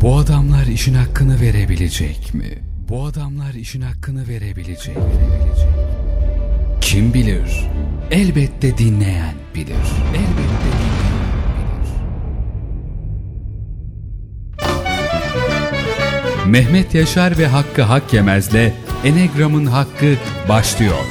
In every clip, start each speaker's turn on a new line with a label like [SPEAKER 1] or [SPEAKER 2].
[SPEAKER 1] Bu adamlar işin hakkını verebilecek mi? Bu adamlar işin hakkını verebilecek, verebilecek. Kim bilir? Elbette dinleyen bilir. Elbette dinleyen bilir. Mehmet Yaşar ve Hakkı Hak Yemez'le Enegram'ın Hakkı başlıyor.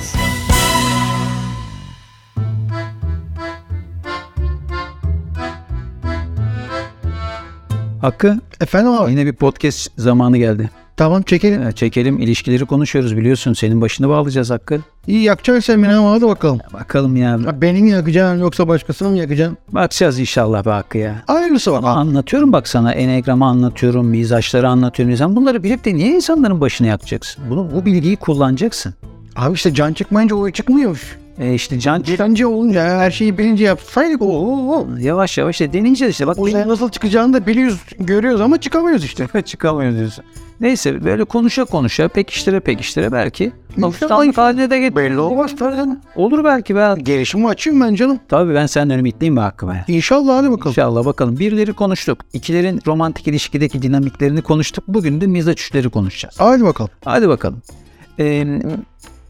[SPEAKER 2] Hakkı
[SPEAKER 3] Efendim abi.
[SPEAKER 2] yine bir podcast zamanı geldi.
[SPEAKER 3] Tamam çekelim.
[SPEAKER 2] Ee, Çekelim ilişkileri konuşuyoruz biliyorsun senin başını bağlayacağız Hakkı.
[SPEAKER 3] İyi yakacaksan beni ama hadi bakalım.
[SPEAKER 2] Bakalım ya
[SPEAKER 3] Ya Beni mi yakacaksın yoksa başkasını mı yakacaksın?
[SPEAKER 2] bakacağız inşallah be Hakkı ya.
[SPEAKER 3] Ayrısı var. Ha,
[SPEAKER 2] Anlatıyorum bak sana enegramı anlatıyorum, mizaçları anlatıyorum. Sen bunları bilip de niye insanların başını yakacaksın? Bunu, bu bilgiyi kullanacaksın.
[SPEAKER 3] Abi işte can çıkmayınca o çıkmıyormuş.
[SPEAKER 2] E işte can
[SPEAKER 3] Sence olunca her şeyi bilince yapsaydık o.
[SPEAKER 2] yavaş yavaş işte deneyeceğiz işte. Bak
[SPEAKER 3] O zaman nasıl çıkacağını da biliyoruz, görüyoruz ama çıkamıyoruz işte.
[SPEAKER 2] çıkamıyoruz diyorsun. Neyse böyle konuşa konuşa pekiştire pekiştire belki. Alışkanlık haline de get-
[SPEAKER 3] Belli olmaz tabii.
[SPEAKER 2] Olur belki be.
[SPEAKER 3] Gelişimi açayım ben canım.
[SPEAKER 2] Tabii ben senden ümitliyim be Hakkı be.
[SPEAKER 3] İnşallah hadi bakalım.
[SPEAKER 2] İnşallah bakalım. Birleri konuştuk. İkilerin romantik ilişkideki dinamiklerini konuştuk. Bugün de mizaç üçleri konuşacağız.
[SPEAKER 3] Hadi bakalım.
[SPEAKER 2] Hadi bakalım. Ee,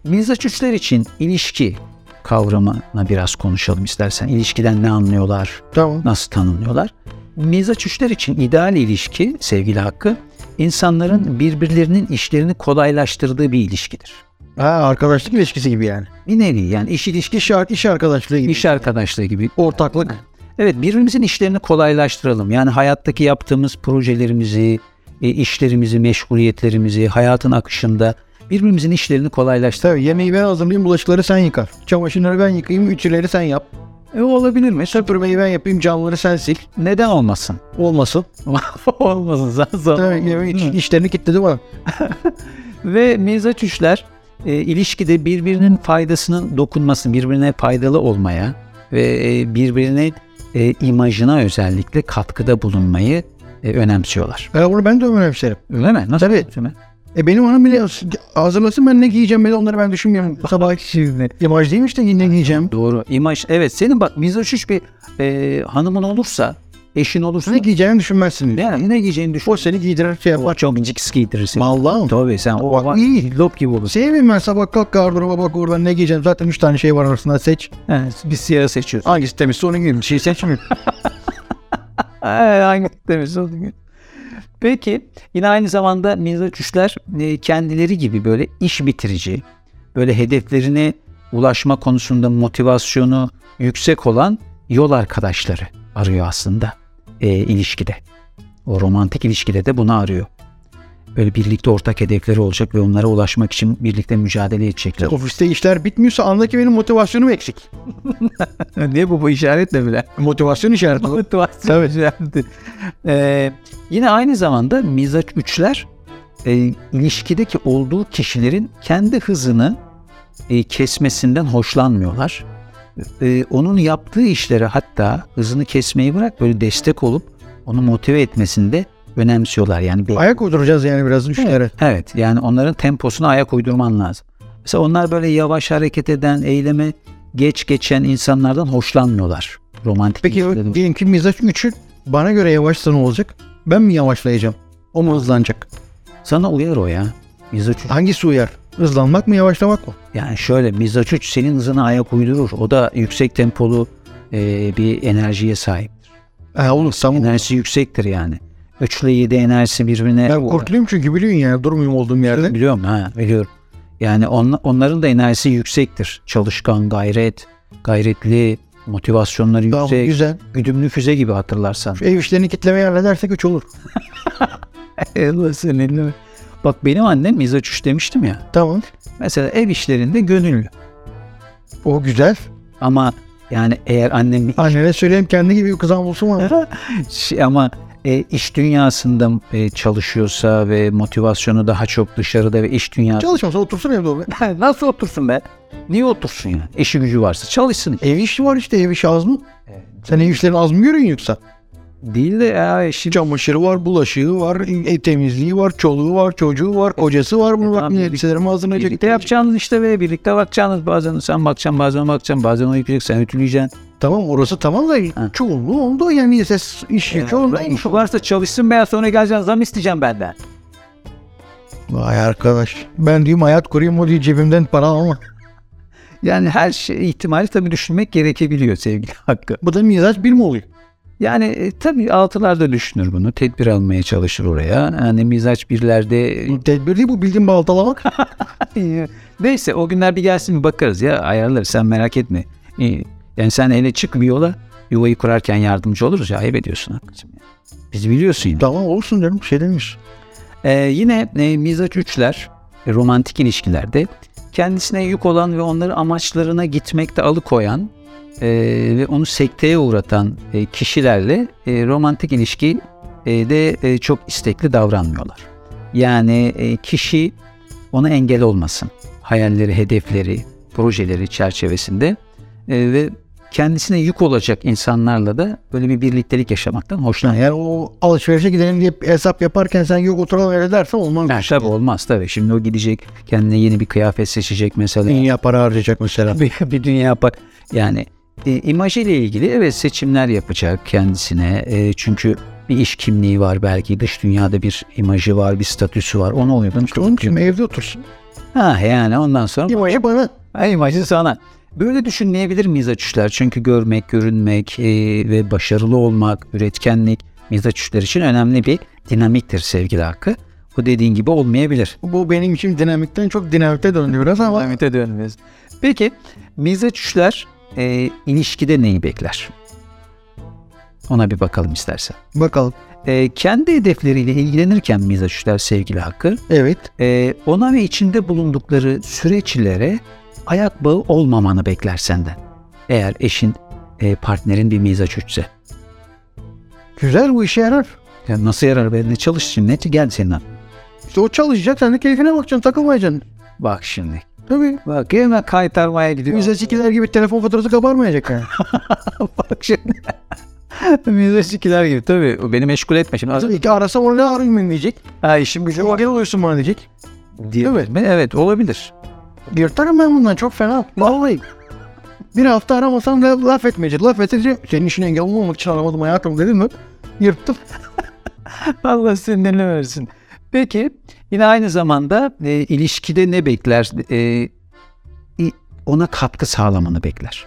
[SPEAKER 2] mizaç üçler için ilişki kavramına biraz konuşalım istersen. İlişkiden ne anlıyorlar,
[SPEAKER 3] Tamam.
[SPEAKER 2] nasıl tanımlıyorlar? Mizaç üçler için ideal ilişki sevgili Hakkı, insanların birbirlerinin işlerini kolaylaştırdığı bir ilişkidir.
[SPEAKER 3] Ha arkadaşlık ilişkisi gibi yani.
[SPEAKER 2] Bir nevi yani iş ilişki,
[SPEAKER 3] İş, iş arkadaşlığı gibi.
[SPEAKER 2] iş arkadaşlığı gibi
[SPEAKER 3] Ortaklık.
[SPEAKER 2] Evet birbirimizin işlerini kolaylaştıralım. Yani hayattaki yaptığımız projelerimizi, e, işlerimizi, meşguliyetlerimizi, hayatın akışında birbirimizin işlerini kolaylaştır.
[SPEAKER 3] Tabii yemeği ben hazırlayayım, bulaşıkları sen yıkar. Çamaşırları ben yıkayayım, ütüleri sen yap.
[SPEAKER 2] E, olabilir mi?
[SPEAKER 3] Süpürmeyi ben yapayım, camları sen sil.
[SPEAKER 2] Neden olmasın?
[SPEAKER 3] Olmasın.
[SPEAKER 2] Olmasın zaten.
[SPEAKER 3] Tabii yemeği-
[SPEAKER 2] Değil mi?
[SPEAKER 3] işlerini kilitledi bana.
[SPEAKER 2] Ve mizaç üçler e, ilişkide birbirinin faydasının dokunması, birbirine faydalı olmaya ve e, birbirine e, imajına özellikle katkıda bulunmayı e, önemsiyorlar.
[SPEAKER 3] E, onu ben de önemserim.
[SPEAKER 2] Öyle mi? Nasıl?
[SPEAKER 3] Tabii.
[SPEAKER 2] Öyle mi?
[SPEAKER 3] E benim hanım bile hazırlasın ben ne giyeceğim bile onları ben düşünmüyorum. Sabah şimdi. Yamaç değil mi işte ne giyeceğim?
[SPEAKER 2] Doğru. İmaj. Evet senin bak mizaç üç bir e, hanımın olursa, eşin olursa
[SPEAKER 3] Ne giyeceğini düşünmezsin. Ne?
[SPEAKER 2] yani ne giyeceğini düşün.
[SPEAKER 3] O seni giydirir şey
[SPEAKER 2] O
[SPEAKER 3] yapar.
[SPEAKER 2] çok ciks giydirirsin.
[SPEAKER 3] Vallahi mı?
[SPEAKER 2] Tabii sen o
[SPEAKER 3] Bak,
[SPEAKER 2] bak,
[SPEAKER 3] iyi.
[SPEAKER 2] lop gibi olursun.
[SPEAKER 3] Sevmiyorum ben sabah kalk gardıroba bak oradan ne giyeceğim. Zaten 3 tane şey var arasında seç.
[SPEAKER 2] Evet, e, bir siyah seçiyorsun.
[SPEAKER 3] Hangisi temizse onu giyin. Bir şey seçmiyorum.
[SPEAKER 2] Ee, Aynı demiş o gün. Peki yine aynı zamanda mizaç üçler e, kendileri gibi böyle iş bitirici, böyle hedeflerine ulaşma konusunda motivasyonu yüksek olan yol arkadaşları arıyor aslında e, ilişkide. O romantik ilişkide de bunu arıyor. Böyle birlikte ortak hedefleri olacak ve onlara ulaşmak için birlikte mücadele edecekler.
[SPEAKER 3] Ofiste işler bitmiyorsa andaki benim motivasyonum eksik.
[SPEAKER 2] ne bu bu işaretle bile?
[SPEAKER 3] Motivasyon işareti.
[SPEAKER 2] Motivasyon özeldi. şey Ee, yine aynı zamanda mizaç üçler e, ilişkideki olduğu kişilerin kendi hızını e, kesmesinden hoşlanmıyorlar. E, onun yaptığı işlere hatta hızını kesmeyi bırak böyle destek olup onu motive etmesinde önemsiyorlar. Yani bir-
[SPEAKER 3] Ayak uyduracağız yani biraz düşünerek.
[SPEAKER 2] Evet yani onların temposuna ayak uydurman lazım. Mesela onlar böyle yavaş hareket eden, eyleme geç geçen insanlardan hoşlanmıyorlar. Romantik
[SPEAKER 3] Peki
[SPEAKER 2] ilişkilerde-
[SPEAKER 3] diyelim ki mizaç 3'ü bana göre yavaşsa ne olacak? Ben mi yavaşlayacağım? O mu hızlanacak?
[SPEAKER 2] Sana uyar o ya. Mizaç üç.
[SPEAKER 3] Hangisi uyar? Hızlanmak mı yavaşlamak mı?
[SPEAKER 2] Yani şöyle mizaç üç senin hızına ayak uydurur. O da yüksek tempolu e, bir enerjiye sahip.
[SPEAKER 3] E, olur tamam.
[SPEAKER 2] Enerjisi yüksektir yani. 3 ile 7 enerjisi birbirine...
[SPEAKER 3] Ben kurtluyum çünkü biliyorsun yani durmuyorum olduğum yerde.
[SPEAKER 2] Biliyorum ha biliyorum. Yani on- onların da enerjisi yüksektir. Çalışkan, gayret, gayretli, motivasyonları
[SPEAKER 3] Tamam
[SPEAKER 2] yüksek.
[SPEAKER 3] güzel.
[SPEAKER 2] Güdümlü füze gibi hatırlarsan.
[SPEAKER 3] Şu ev işlerini kitlemeye halledersek 3 olur.
[SPEAKER 2] Bak benim annem mizaç üç demiştim ya.
[SPEAKER 3] Tamam.
[SPEAKER 2] Mesela ev işlerinde gönüllü.
[SPEAKER 3] O güzel.
[SPEAKER 2] Ama yani eğer annem bir
[SPEAKER 3] Annene söyleyeyim kendi gibi bir kızan bulsun bana.
[SPEAKER 2] Şey ama e, iş dünyasında e, çalışıyorsa ve motivasyonu daha çok dışarıda ve iş dünyası
[SPEAKER 3] Çalışmasa otursun evde o be.
[SPEAKER 2] nasıl otursun be? Niye otursun ya? İşi gücü varsa çalışsın.
[SPEAKER 3] Ev işi var işte ev işi az mı? Sen ev işlerini az mı görüyorsun yoksa?
[SPEAKER 2] E, Değil de ya işi
[SPEAKER 3] Çamaşırı var, bulaşığı var, ev temizliği var, çoluğu var, çocuğu var, kocası var. Bunu bak
[SPEAKER 2] E, tamam,
[SPEAKER 3] ne
[SPEAKER 2] birlikte-
[SPEAKER 3] elbiselerimi hazırlayacak.
[SPEAKER 2] birlikte yapacaksınız işte ve birlikte bakacaksınız. Bazen sen bakacaksın, bazen bakacaksın, bazen o yıkayacaksın, sen ütüleyeceksin.
[SPEAKER 3] Tamam orası tamam da
[SPEAKER 2] Ha.
[SPEAKER 3] çoğunluğu oldu yani yine ses iş yükü oldu.
[SPEAKER 2] İş E, varsa çalışsın ben sonra geleceğim zam isteyeceğim benden.
[SPEAKER 3] Vay arkadaş. Ben diyeyim hayat kurayım o diye cebimden para alma.
[SPEAKER 2] Yani her şey ihtimali tabii düşünmek gerekebiliyor sevgili Hakkı.
[SPEAKER 3] Bu da mizaç bir mi oluyor?
[SPEAKER 2] Yani e, tabii altılarda düşünür bunu. Tedbir almaya çalışır oraya. Yani mizaç birlerde e,
[SPEAKER 3] E, Tedbir değil bu bildiğin baltalamak.
[SPEAKER 2] İyi. Neyse o günler bir gelsin bir bakarız ya ayarlarız sen merak etme. İyi. Yani sen hele çık bir yola yuvayı kurarken yardımcı oluruz ya ayıp ediyorsun haklısın. ya. Biz biliyorsun ya.
[SPEAKER 3] tamam olsun canım şey demiyorsun.
[SPEAKER 2] Ee, yine e, mizaç üçler e, romantik ilişkilerde kendisine yük olan ve onları amaçlarına gitmekte alıkoyan e, ve onu sekteye uğratan e, kişilerle e, romantik ilişki e, de e, çok istekli davranmıyorlar. Yani e, kişi ona engel olmasın. Hayalleri, hedefleri, projeleri çerçevesinde e, ve kendisine yük olacak insanlarla da böyle bir birliktelik yaşamaktan hoşlanıyor.
[SPEAKER 3] Yani o alışverişe gidelim diye hesap yaparken sen yok oturalım öyle dersen olmaz.
[SPEAKER 2] Ha, tabii olmaz tabii. Şimdi o gidecek kendine yeni bir kıyafet seçecek mesela.
[SPEAKER 3] Dünya para harcayacak mesela.
[SPEAKER 2] bir, bir dünya yapar. Yani e, imajıyla ilgili evet seçimler yapacak kendisine. E, çünkü bir iş kimliği var belki. Dış dünyada bir imajı var, bir statüsü var. Onu oluyor.
[SPEAKER 3] İşte onun için evde otursun.
[SPEAKER 2] Ha yani ondan sonra
[SPEAKER 3] İmajı bana.
[SPEAKER 2] Ha, imajı sana. Böyle düşünmeyebilir mizaç üçler? Çünkü görmek, görünmek e, ve başarılı olmak, üretkenlik mizaç üçler için önemli bir dinamiktir sevgili Hakkı. Bu dediğin gibi olmayabilir.
[SPEAKER 3] Bu benim için dinamikten çok dinamikte döndü biraz ama.
[SPEAKER 2] Ahmet'e dönmez. Peki mizaç üçler e, ilişkide neyi bekler? Ona bir bakalım istersen.
[SPEAKER 3] Bakalım.
[SPEAKER 2] E, kendi hedefleriyle ilgilenirken mizaç üçler sevgili Hakkı
[SPEAKER 3] Evet.
[SPEAKER 2] e, ona ve içinde bulundukları süreçlere ayak bağı olmamanı bekler senden. Eğer eşin e, partnerin bir mizaç üçse.
[SPEAKER 3] Güzel bu işe yarar.
[SPEAKER 2] Ya nasıl yarar be? Ne çalış şimdi? Ne gel senin aklına.
[SPEAKER 3] İşte o çalışacak sen de keyfine bakacaksın takılmayacaksın.
[SPEAKER 2] Bak şimdi.
[SPEAKER 3] Tabii.
[SPEAKER 2] Bak hemen kaytarmaya gidiyor.
[SPEAKER 3] Mizaç ikiler gibi telefon faturası kabarmayacak yani.
[SPEAKER 2] Bak şimdi. Müzesikiler gibi tabii. O Beni meşgul etme şimdi. Az-
[SPEAKER 3] Tabii ki arasam onu ne arayayım ben diyecek.
[SPEAKER 2] Ha işim
[SPEAKER 3] Bize vakit oluyorsun bana diyecek.
[SPEAKER 2] diye.
[SPEAKER 3] Evet.
[SPEAKER 2] Evet. evet olabilir.
[SPEAKER 3] Yırtarım ben bundan çok fena. Vallahi. Bir hafta aramasam da laf etmeyecek. Laf edince senin işine engel olmamak için aramadım hayatım dedim mi? Yırttım.
[SPEAKER 2] Allah sinirli versin. Peki yine aynı zamanda e, ilişkide ne bekler? E, i- ona katkı sağlamanı bekler.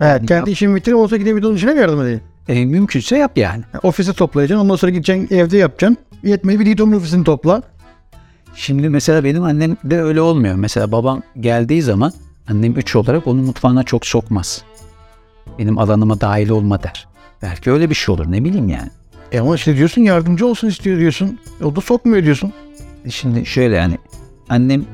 [SPEAKER 3] Evet kendi işimi bitirip olsa gidip onun işine mi yardım edeyim?
[SPEAKER 2] E, mümkünse yap yani.
[SPEAKER 3] Yani ofise toplayacaksın ondan sonra gideceksin evde yapacaksın. Yetmedi bir Lidl'un ofisini topla.
[SPEAKER 2] Şimdi mesela benim annem de öyle olmuyor. Mesela babam geldiği zaman annem üç olarak onu mutfağına çok sokmaz. Benim alanıma dahil olma der. Belki öyle bir şey olur ne bileyim yani.
[SPEAKER 3] E ama işte diyorsun yardımcı olsun istiyor diyorsun. O da sokmuyor diyorsun.
[SPEAKER 2] E, Şimdi şöyle yani annem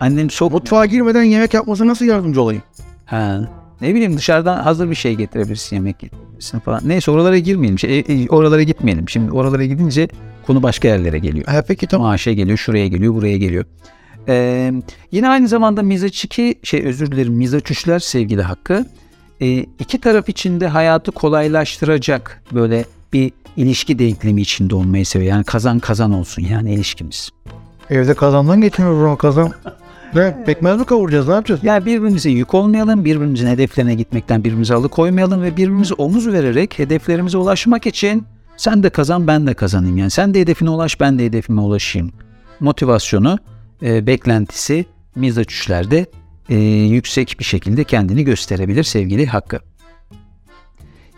[SPEAKER 2] annem sok
[SPEAKER 3] Mutfağa girmeden yemek yapması nasıl yardımcı olayım?
[SPEAKER 2] Ha. Ne bileyim dışarıdan hazır bir şey getirebilirsin yemek getirebilirsin falan. Neyse oralara girmeyelim. Şey, e, e, oralara gitmeyelim. Şimdi oralara gidince konu başka yerlere geliyor.
[SPEAKER 3] Ha peki tamam.
[SPEAKER 2] Maaşa geliyor, şuraya geliyor, buraya geliyor. Ee, yine aynı zamanda mizaç 2 şey özür dilerim mizaç 3'ler sevgili Hakkı. Ee, iki taraf içinde hayatı kolaylaştıracak böyle bir ilişki denklemi içinde olmayı seviyor. Yani kazan kazan olsun yani ilişkimiz.
[SPEAKER 3] Evde kazandan geçmiyoruz ama kazan. Ne? Pekmez mi kavuracağız ne yapacağız?
[SPEAKER 2] Yani birbirimize yük olmayalım, birbirimizin hedeflerine gitmekten birbirimizi alıkoymayalım ve birbirimize omuz vererek hedeflerimize ulaşmak için sen de kazan ben de kazanayım. Yani sen de hedefine ulaş ben de hedefime ulaşayım. Motivasyonu, e, beklentisi mizaç üçlerde e, yüksek bir şekilde kendini gösterebilir sevgili Hakkı.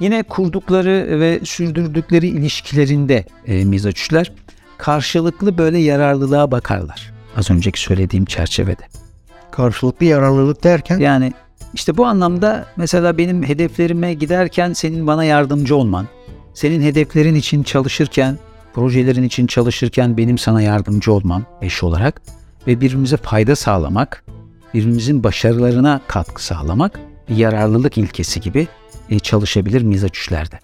[SPEAKER 2] Yine kurdukları ve sürdürdükleri ilişkilerinde e, mizaç üçler karşılıklı böyle yararlılığa bakarlar. Az önceki söylediğim çerçevede.
[SPEAKER 3] Karşılıklı yararlılık derken
[SPEAKER 2] Yani işte bu anlamda mesela benim hedeflerime giderken senin bana yardımcı olman, senin hedeflerin için çalışırken, projelerin için çalışırken benim sana yardımcı olmam eş olarak ve birbirimize fayda sağlamak, birbirimizin başarılarına katkı sağlamak bir yararlılık ilkesi gibi e, çalışabilir mizaç üçlerde.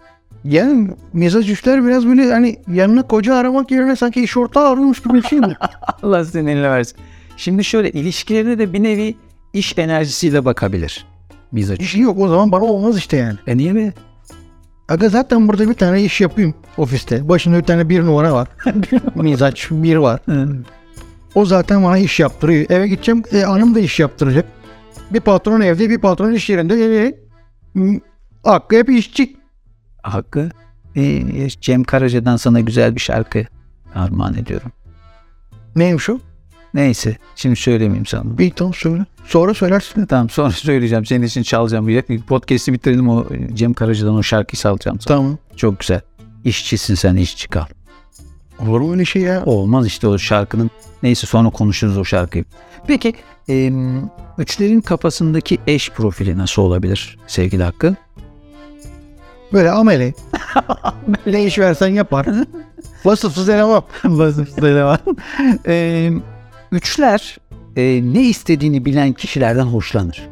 [SPEAKER 3] Yani mesaj işler biraz böyle hani yanına koca aramak yerine sanki iş ortağı arıyormuş gibi bir şey mi?
[SPEAKER 2] Allah senin eline versin. Şimdi şöyle ilişkilerine de bir nevi iş enerjisiyle bakabilir mizaç.
[SPEAKER 3] İşi şey yok o zaman bana olmaz işte yani.
[SPEAKER 2] E niye mi?
[SPEAKER 3] Aga zaten burada bir tane iş yapayım ofiste. Başında bir tane bir numara var. Mizaç bir var. O zaten bana iş yaptırıyor. Eve gideceğim e, hanım da iş yaptıracak. Bir patron evde bir patron iş yerinde. E, e, m, Hakkı hep işçi.
[SPEAKER 2] Hakkı. Ee, Cem Karaca'dan sana güzel bir şarkı armağan ediyorum.
[SPEAKER 3] Neymiş o?
[SPEAKER 2] Neyse şimdi söylemeyeyim sana.
[SPEAKER 3] Bir tam söyle. Sonra söylersin.
[SPEAKER 2] Tamam sonra söyleyeceğim. Senin için çalacağım. Bir podcast'i bitirelim o e, Cem Karaca'dan o şarkıyı salacağım sana.
[SPEAKER 3] Tamam.
[SPEAKER 2] Çok güzel. İşçisin sen işçi kal.
[SPEAKER 3] Olur mu öyle şey ya?
[SPEAKER 2] Olmaz işte o şarkının. Neyse sonra konuşuruz o şarkıyı. Peki em, üçlerin kafasındaki eş profili nasıl olabilir sevgili Hakkı?
[SPEAKER 3] Böyle ameli. ne iş versen yapar. Vasıfsız eleman.
[SPEAKER 2] Em, Ee, üçler e, ne istediğini bilen kişilerden hoşlanır.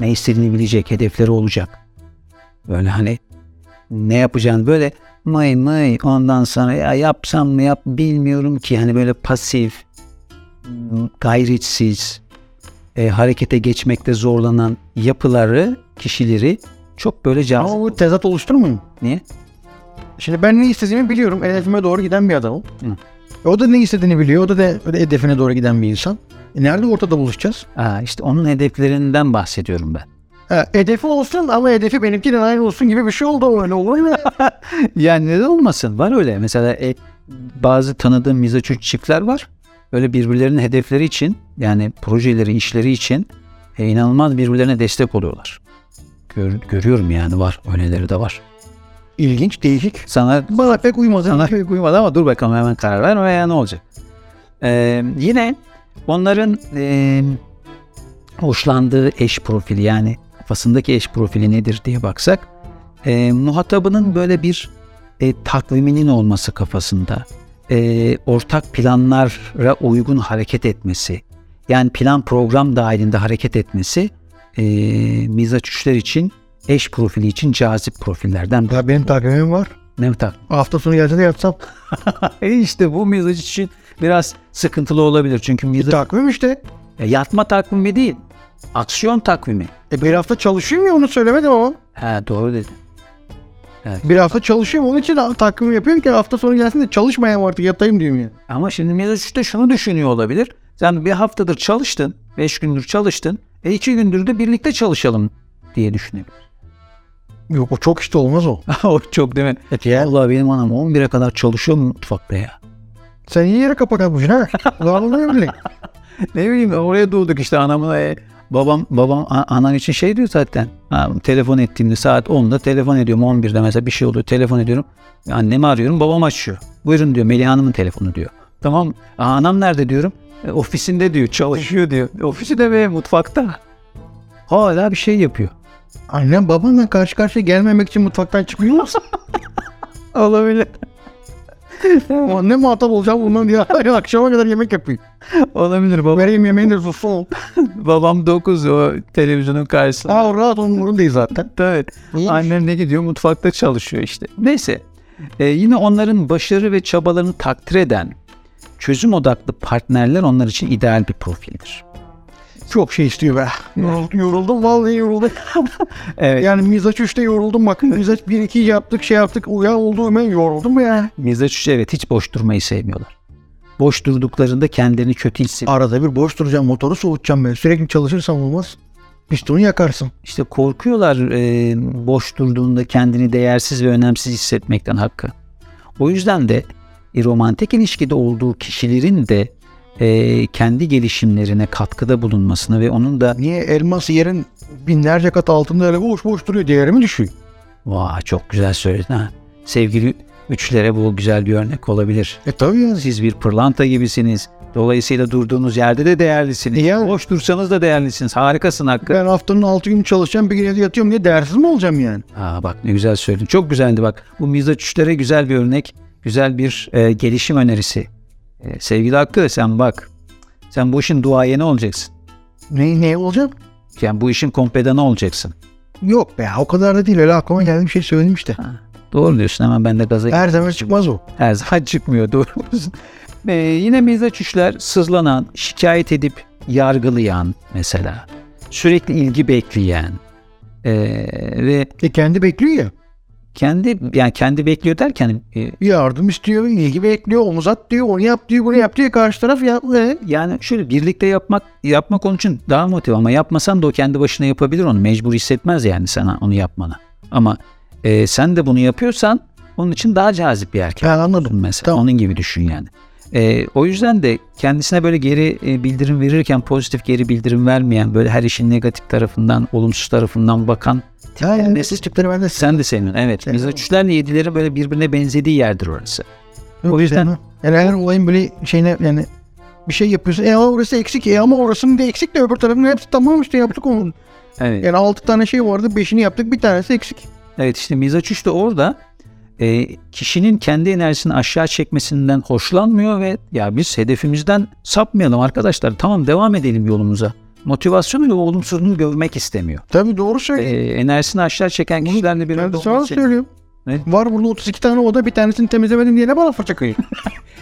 [SPEAKER 2] Ne istediğini bilecek, hedefleri olacak. Böyle hani ne yapacağını böyle mıy mıy ondan sonra ya yapsam mı yap bilmiyorum ki. Hani böyle pasif, gayretsiz, e, harekete geçmekte zorlanan yapıları, kişileri çok böyle cazip.
[SPEAKER 3] Ama bu tezat oluşturmuyor mu?
[SPEAKER 2] Niye?
[SPEAKER 3] Şimdi ben ne istediğimi biliyorum. Hedefime doğru giden bir adamım.
[SPEAKER 2] Hı.
[SPEAKER 3] E O da ne istediğini biliyor. O da, de, o da hedefine doğru giden bir insan. E nerede ortada buluşacağız?
[SPEAKER 2] Aa, işte onun hedeflerinden bahsediyorum ben.
[SPEAKER 3] Ha, hedefi olsun ama hedefi benimkiyle aynı olsun gibi bir şey oldu. Öyle olur mu?
[SPEAKER 2] Yani neden olmasın? Var öyle. Mesela e, bazı tanıdığım mizaçüç çiftler var. Böyle birbirlerinin hedefleri için yani projeleri, işleri için e, inanılmaz birbirlerine destek oluyorlar. Gör- görüyorum yani var. Öyleleri de var.
[SPEAKER 3] İlginç, değişik.
[SPEAKER 2] Sana
[SPEAKER 3] Bana pek uymadı.
[SPEAKER 2] sana pek uymadı ama dur bakalım hemen karar ver veya ne olacak. Ee, yine onların e, hoşlandığı eş profili yani kafasındaki eş profili nedir diye baksak e, muhatabının böyle bir e, takviminin olması kafasında e, ortak planlara uygun hareket etmesi yani plan program dahilinde hareket etmesi e, mizaç üçler için eş profili için cazip profillerden
[SPEAKER 3] Ya benim takvimim var.
[SPEAKER 2] ne tak
[SPEAKER 3] Hafta sonu gelse de yapsam.
[SPEAKER 2] e işte bu mizaç için biraz sıkıntılı olabilir. Çünkü mizaç
[SPEAKER 3] Takvim işte.
[SPEAKER 2] Ya yatma takvimi değil. Aksiyon takvimi.
[SPEAKER 3] E bir hafta çalışayım ya onu söylemedim ama.
[SPEAKER 2] He doğru dedin.
[SPEAKER 3] Bir hafta çalışayım onun için ha- takvim yapıyorum ki hafta sonu gelsin de çalışmayayım artık yatayım diyeyim ya.
[SPEAKER 2] Ama şimdi mizaç işte şunu düşünüyor olabilir. Sen bir haftadır çalıştın. Beş gündür çalıştın. E iki gündür de birlikte çalışalım diye düşünüyor.
[SPEAKER 3] Yok o çok işte olmaz o.
[SPEAKER 2] o çok değil mi?
[SPEAKER 3] Evet ya.
[SPEAKER 2] Allah benim anam 11'e kadar çalışıyor mu mutfakta ya?
[SPEAKER 3] Sen iyi yere kapak atmışsın ha. Vallahi bile.
[SPEAKER 2] Ne bileyim oraya doğduk işte anamın e, babam babam a- anan için şey diyor zaten. Ha, telefon ettiğimde saat 10'da telefon ediyorum 11'de mesela bir şey oluyor telefon ediyorum. Annemi arıyorum babam açıyor. Buyurun diyor Melih Hanım'ın telefonu diyor. Tamam "Aa, anam nerede diyorum. "E, ofisinde diyor çalışıyor diyor. E, Ofisi de be mutfakta. Hala bir şey yapıyor.
[SPEAKER 3] Annem babanla karşı karşıya gelmemek için mutfaktan çıkıyor musun?
[SPEAKER 2] Olabilir.
[SPEAKER 3] Anne muhatap olacağım bundan diye hala akşama kadar yemek yapayım.
[SPEAKER 2] Olabilir baba.
[SPEAKER 3] Vereyim yemeğini de sussun.
[SPEAKER 2] Babam 9 o televizyonun karşısında.
[SPEAKER 3] Aa o rahat onun umurundayız zaten.
[SPEAKER 2] Evet. Annem ne gidiyor mutfakta çalışıyor işte. Neyse e, yine onların başarı ve çabalarını takdir eden çözüm odaklı partnerler onlar için ideal bir profildir.
[SPEAKER 3] Çok şey istiyor be. Yoruldum, yoruldum vallahi yoruldum.
[SPEAKER 2] Evet.
[SPEAKER 3] Yani mizaç 3'te yoruldum bak. Mizaç 1-2 yaptık şey yaptık. Uyan oldu hemen yoruldum ya.
[SPEAKER 2] Mizaç üçü evet hiç boş durmayı sevmiyorlar. Boş durduklarında kendilerini kötü hissediyor.
[SPEAKER 3] Arada bir boş duracağım motoru soğutacağım ben. Sürekli çalışırsam olmaz. Pistonu yakarsın.
[SPEAKER 2] İşte korkuyorlar e, boş durduğunda kendini değersiz ve önemsiz hissetmekten hakkı. O yüzden de e, romantik ilişkide olduğu kişilerin de e, kendi gelişimlerine katkıda bulunmasını ve onun da
[SPEAKER 3] Niye elmas yerin binlerce kat altında öyle boş boş duruyor değerimi düşüyor.
[SPEAKER 2] Vay çok güzel söyledin ha. Sevgili üçlere bu güzel bir örnek olabilir.
[SPEAKER 3] E tabii ya.
[SPEAKER 2] Siz bir pırlanta gibisiniz. Dolayısıyla durduğunuz yerde de değerlisiniz.
[SPEAKER 3] Ya.
[SPEAKER 2] Boş dursanız da değerlisiniz. Harikasın Hakkı.
[SPEAKER 3] Ben haftanın 6 günü çalışacağım bir gün evde yatıyorum diye değersiz mi olacağım yani?
[SPEAKER 2] Aa, bak ne güzel söyledin. Çok güzeldi bak. Bu mizaç üçlere güzel bir örnek. Güzel bir e, gelişim önerisi. E, sevgili Hakkı sen bak. Sen bu işin duayeni olacaksın.
[SPEAKER 3] Ne, ne olacağım?
[SPEAKER 2] Yani bu işin kompedanı olacaksın.
[SPEAKER 3] Yok be o kadar da değil öyle aklıma geldi bir şey söyledim işte.
[SPEAKER 2] Doğru diyorsun hemen ben de gaza
[SPEAKER 3] Her zaman çıkmaz o.
[SPEAKER 2] Her zaman çıkmıyor doğru musun? Ee, yine mizaç üçler sızlanan, şikayet edip yargılayan mesela. Sürekli ilgi bekleyen ee, ve
[SPEAKER 3] E kendi bekliyor ya.
[SPEAKER 2] Kendi yani kendi bekliyor derken e,
[SPEAKER 3] Yardım istiyor, ilgi bekliyor, omuz at diyor, onu yap diyor, bunu yap diyor. Karşı taraf ya. e,
[SPEAKER 2] yani şöyle birlikte yapmak yapmak onun için daha motive ama yapmasan da o kendi başına yapabilir onu mecbur hissetmez yani sana onu yapmana. Ama e, sen de bunu yapıyorsan onun için daha cazip bir erkek.
[SPEAKER 3] Ben anladım.
[SPEAKER 2] olsun mesela.
[SPEAKER 3] Tamam.
[SPEAKER 2] Onun gibi düşün yani. Ee, o yüzden de kendisine böyle geri e, bildirim verirken pozitif geri bildirim vermeyen böyle her işin negatif tarafından olumsuz tarafından bakan
[SPEAKER 3] Ya, ya,
[SPEAKER 2] Neyse.
[SPEAKER 3] siz tipleri ben de
[SPEAKER 2] sen de senin evet mizaçüçlerle yedilerin böyle birbirine benzediği yerdir orası.
[SPEAKER 3] Yok,
[SPEAKER 2] O yüzden-
[SPEAKER 3] sevmem. yani her olayın böyle şeyine yani bir şey yapıyorsun. E orası eksik e ama orasının da eksik de öbür tarafın hepsi tamam işte yaptık onu.
[SPEAKER 2] Evet.
[SPEAKER 3] Yani 6 tane şey vardı 5'ini yaptık bir tanesi eksik.
[SPEAKER 2] Evet işte mizaç üç de orada e, kişinin kendi enerjisini aşağı çekmesinden hoşlanmıyor ve ya biz hedefimizden sapmayalım arkadaşlar tamam devam edelim yolumuza. Motivasyonu ve olumsuzluğunu görmek istemiyor.
[SPEAKER 3] Tabii doğru
[SPEAKER 2] E,
[SPEAKER 3] söylüyor.
[SPEAKER 2] enerjisini aşağı çeken kişilerle bir
[SPEAKER 3] ben de sana söylüyorum.
[SPEAKER 2] Ne?
[SPEAKER 3] Var burada 32 tane oda bir tanesini temizlemedim diye ne bana fırça kıyıyor?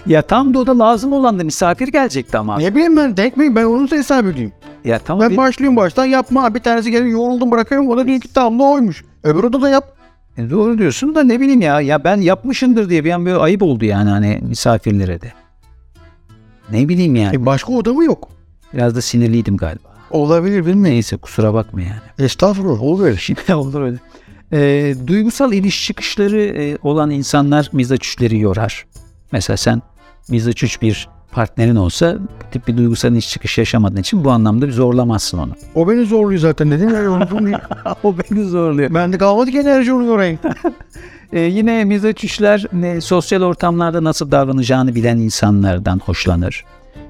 [SPEAKER 2] Ya tam da o da lazım olan da misafir gelecekti ama.
[SPEAKER 3] ne bileyim ben denk miyim ben onun da hesap edeyim.
[SPEAKER 2] Ya tamam
[SPEAKER 3] Ben başlıyorum baştan yapma abi, bir tanesi geliyor yoruldum bırakıyorum o da diyor ki tamam da oymuş. Öbür odada yap.
[SPEAKER 2] E, doğru diyorsun da ne bileyim ya. Ya ben yapmışımdır diye bir an böyle ayıp oldu yani hani misafirlere de. Ne bileyim yani.
[SPEAKER 3] E başka oda mı yok?
[SPEAKER 2] Biraz da sinirliydim galiba.
[SPEAKER 3] Olabilir bilmiyorum.
[SPEAKER 2] Neyse kusura bakma yani.
[SPEAKER 3] Estağfurullah olur öyle şey.
[SPEAKER 2] Şimdi olur öyle. E, duygusal iniş çıkışları e, olan insanlar mizaç üçleri yorar. Mesela sen mizaç üç bir partnerin olsa bu tip bir duygusal iniş çıkış yaşamadığın için bu anlamda bir zorlamazsın onu.
[SPEAKER 3] O beni zorluyor zaten dedim. ya, yoruldum diye.
[SPEAKER 2] o beni zorluyor.
[SPEAKER 3] ben de kalmadı ki enerji onu yorayım.
[SPEAKER 2] Ee, yine mizaçüşler ne, sosyal ortamlarda nasıl davranacağını bilen insanlardan hoşlanır.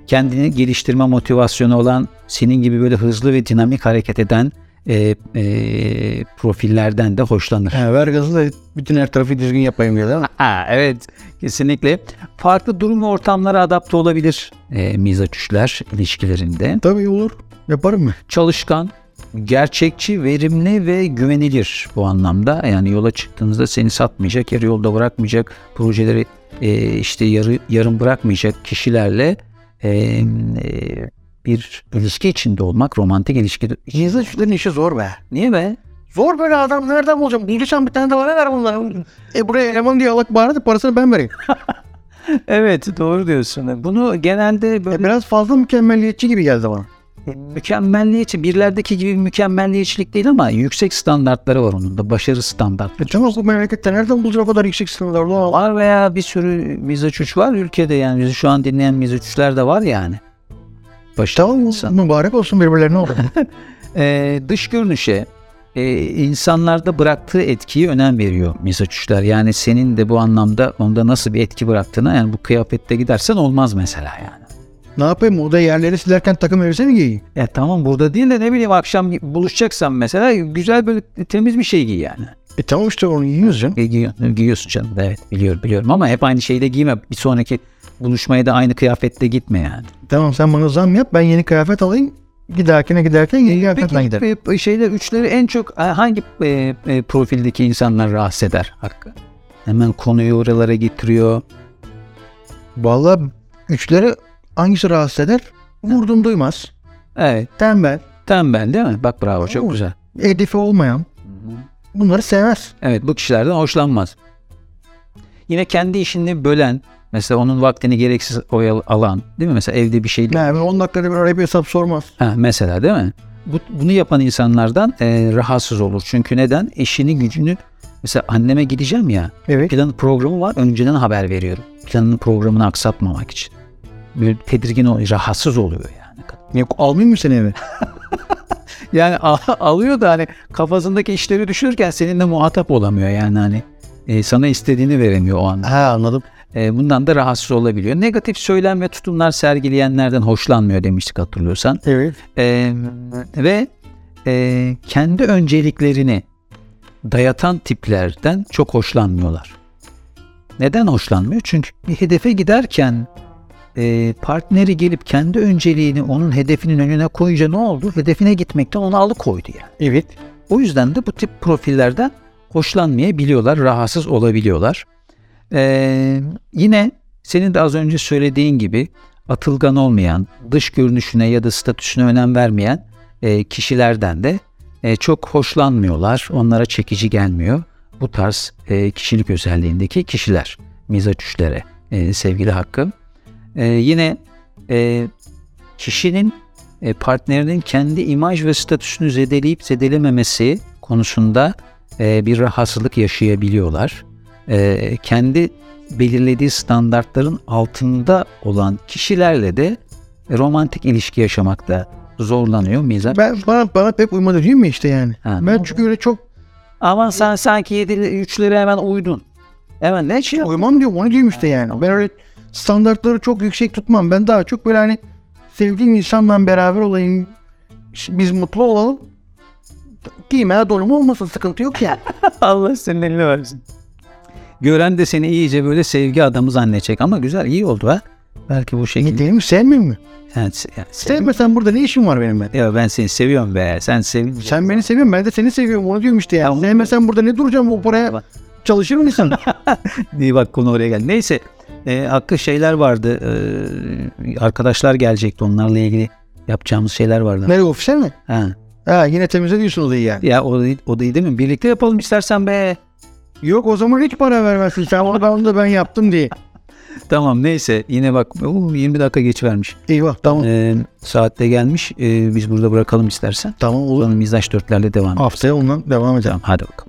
[SPEAKER 2] Kendini geliştirme motivasyonu olan, senin gibi böyle hızlı ve dinamik hareket eden e, e, profillerden de hoşlanır.
[SPEAKER 3] He, ver gazı da bütün her tarafı düzgün yapayım diye değil mi?
[SPEAKER 2] Ha, evet, kesinlikle. Farklı durum ve ortamlara adapte olabilir e, mizaçüşler ilişkilerinde.
[SPEAKER 3] Tabii olur. Yaparım mı?
[SPEAKER 2] Çalışkan, gerçekçi, verimli ve güvenilir bu anlamda. Yani yola çıktığınızda seni satmayacak, yarı yolda bırakmayacak, projeleri e, işte yarı, yarım bırakmayacak kişilerle e, e, bir ilişki içinde olmak, romantik ilişki.
[SPEAKER 3] Cihazın şunların işi zor be.
[SPEAKER 2] Niye be?
[SPEAKER 3] Zor böyle adam nereden bulacağım? Bulacağım bir tane de bana ver bunları. E buraya eleman diye alak bağırdı parasını ben vereyim.
[SPEAKER 2] Evet doğru diyorsun. Bunu genelde
[SPEAKER 3] E, biraz fazla mükemmeliyetçi gibi geldi bana.
[SPEAKER 2] mükemmelliyetçi, birlerdeki gibi mükemmelliyetçilik değil ama yüksek standartları var onun da, başarı standartları.
[SPEAKER 3] E tamam bu memlekette nereden bulacağım o kadar yüksek sınırlar? Ulan Allah.
[SPEAKER 2] var veya bir sürü mizaç üç var ülkede yani bizi şu an dinleyen mizaç üçler de var yani. Başta
[SPEAKER 3] Tamam mı?
[SPEAKER 2] insan.
[SPEAKER 3] Mübarek olsun birbirlerine oldu.
[SPEAKER 2] Ee, dış görünüşe e, insanlarda bıraktığı etkiyi önem veriyor mizaç üçler. Yani senin de bu anlamda onda nasıl bir etki bıraktığına yani bu kıyafette gidersen olmaz mesela yani.
[SPEAKER 3] ne yapayım oda yerleri silerken takım elbise mi giyeyim?
[SPEAKER 2] Ya E, tamam burada değil de ne bileyim akşam buluşacaksan mesela güzel böyle temiz bir şey giy yani.
[SPEAKER 3] E tamam işte onu giyiyoruz canım.
[SPEAKER 2] Gi- giyiyorsun, E, giyiyorsun canım evet biliyorum biliyorum ama hep aynı şeyi de giyme bir sonraki buluşmaya da aynı kıyafette gitme yani.
[SPEAKER 3] Tamam sen bana zam yap ben yeni kıyafet alayım. Giderkene giderken yeni kıyafetle giderim.
[SPEAKER 2] Peki e, şeyler üçleri en çok e, hangi e, e, profildeki insanlar rahatsız eder Hakkı? Hemen konuyu oralara getiriyor.
[SPEAKER 3] Vallahi üçleri hangisi rahatsız eder? Vurdum duymaz.
[SPEAKER 2] Evet
[SPEAKER 3] Tembel.
[SPEAKER 2] tembel değil mi? Bak bravo çok
[SPEAKER 3] Oo.
[SPEAKER 2] güzel.
[SPEAKER 3] Hedefi olmayan. Bunları sever.
[SPEAKER 2] Evet bu kişilerden hoşlanmaz. Yine kendi işini bölen mesela onun vaktini gereksiz oyal alan değil mi? Mesela evde bir şey
[SPEAKER 3] Yani 10 dakikada bir arayıp hesap sormaz.
[SPEAKER 2] Ha, mesela değil mi? Bu, bunu yapan insanlardan e, rahatsız olur. Çünkü neden? İşini gücünü mesela anneme gideceğim ya
[SPEAKER 3] Evet.
[SPEAKER 2] Planın programı var. Önceden haber veriyorum. Planın programını aksatmamak için. Böyle tedirgin oluyor, rahatsız oluyor yani.
[SPEAKER 3] Ne, almayayım mı seni eve?
[SPEAKER 2] Yani al- alıyor da hani kafasındaki işleri düşünürken seninle muhatap olamıyor yani hani. E, sana istediğini veremiyor o anda.
[SPEAKER 3] ha anladım.
[SPEAKER 2] E, bundan da rahatsız olabiliyor. Negatif söylem ve tutumlar sergileyenlerden hoşlanmıyor demiştik hatırlıyorsan.
[SPEAKER 3] Evet.
[SPEAKER 2] E, ve e, kendi önceliklerini dayatan tiplerden çok hoşlanmıyorlar. Neden hoşlanmıyor? Çünkü bir hedefe giderken e, partneri gelip kendi önceliğini onun hedefinin önüne koyunca ne oldu? Hedefine gitmekten onu alıkoydu yani.
[SPEAKER 3] Evet.
[SPEAKER 2] O yüzden de bu tip profillerden hoşlanmayabiliyorlar, rahatsız olabiliyorlar. Ee, yine senin de az önce söylediğin gibi atılgan olmayan, dış görünüşüne ya da statüsüne önem vermeyen e, kişilerden de e, çok hoşlanmıyorlar. Onlara çekici gelmiyor. bu tarz e, kişilik özelliğindeki kişiler, mizaç üçlere e, sevgili Hakkı. E, yine e, kişinin e, partnerinin kendi imaj ve statüsünü zedeleyip zedelememesi konusunda e, bir rahatsızlık yaşayabiliyorlar. E, kendi belirlediği standartların altında olan kişilerle de romantik ilişki yaşamakta zorlanıyor mizaç.
[SPEAKER 3] Ben, bana, bana pek uymadı değil mi işte yani?
[SPEAKER 2] Ha.
[SPEAKER 3] Ben çünkü öyle çok
[SPEAKER 2] Ama sen sanki yedi üçlere hemen uydun. Hemen ne şey
[SPEAKER 3] Uymam diyor onu diyorum işte yani. Ben öyle standartları çok yüksek tutmam. Ben daha çok böyle hani sevdiğim insanla beraber olayım. ş- Biz mutlu olalım. Giymeye donumu olmasın sıkıntı yok yani.
[SPEAKER 2] Allah senin eline versin. Gören de seni iyice böyle sevgi adamı zannedecek ama güzel iyi oldu ha. Belki bu
[SPEAKER 3] Ne
[SPEAKER 2] şekilde.
[SPEAKER 3] diyeyim sevmiyor mu?
[SPEAKER 2] Yani, se- yani se-
[SPEAKER 3] Sevmesen burada ne işin var benim ben?
[SPEAKER 2] ya ben seni seviyorum be. Sen sevin.
[SPEAKER 3] Sen beni seviyorsun ben de seni seviyorum onu diyorum işte yani.
[SPEAKER 2] Tamam.
[SPEAKER 3] Sevmesen burada ne duracağım o paraya
[SPEAKER 2] Bak.
[SPEAKER 3] çalışır mı insan?
[SPEAKER 2] İyi bak konu oraya geldi. Neyse e, hakkı şeyler vardı. E, arkadaşlar gelecekti onlarla ilgili yapacağımız şeyler vardı.
[SPEAKER 3] Nereye ofise mi?
[SPEAKER 2] Ha.
[SPEAKER 3] Ha yine temize diyorsun odayı yani.
[SPEAKER 2] Ya o, o da iyi değil mi? Birlikte yapalım istersen be.
[SPEAKER 3] Yok o zaman hiç para vermezsin sen onu ben, onu da ben yaptım diye.
[SPEAKER 2] Tamam neyse yine bak uu, 20 dakika geç vermiş.
[SPEAKER 3] Eyvah tamam.
[SPEAKER 2] Ee, saatte gelmiş. Ee, biz burada bırakalım istersen.
[SPEAKER 3] Tamam olur.
[SPEAKER 2] Sonra Mizaç dörtlerle devam edelim.
[SPEAKER 3] Haftaya ondan devam edelim.
[SPEAKER 2] Tamam hadi bakalım.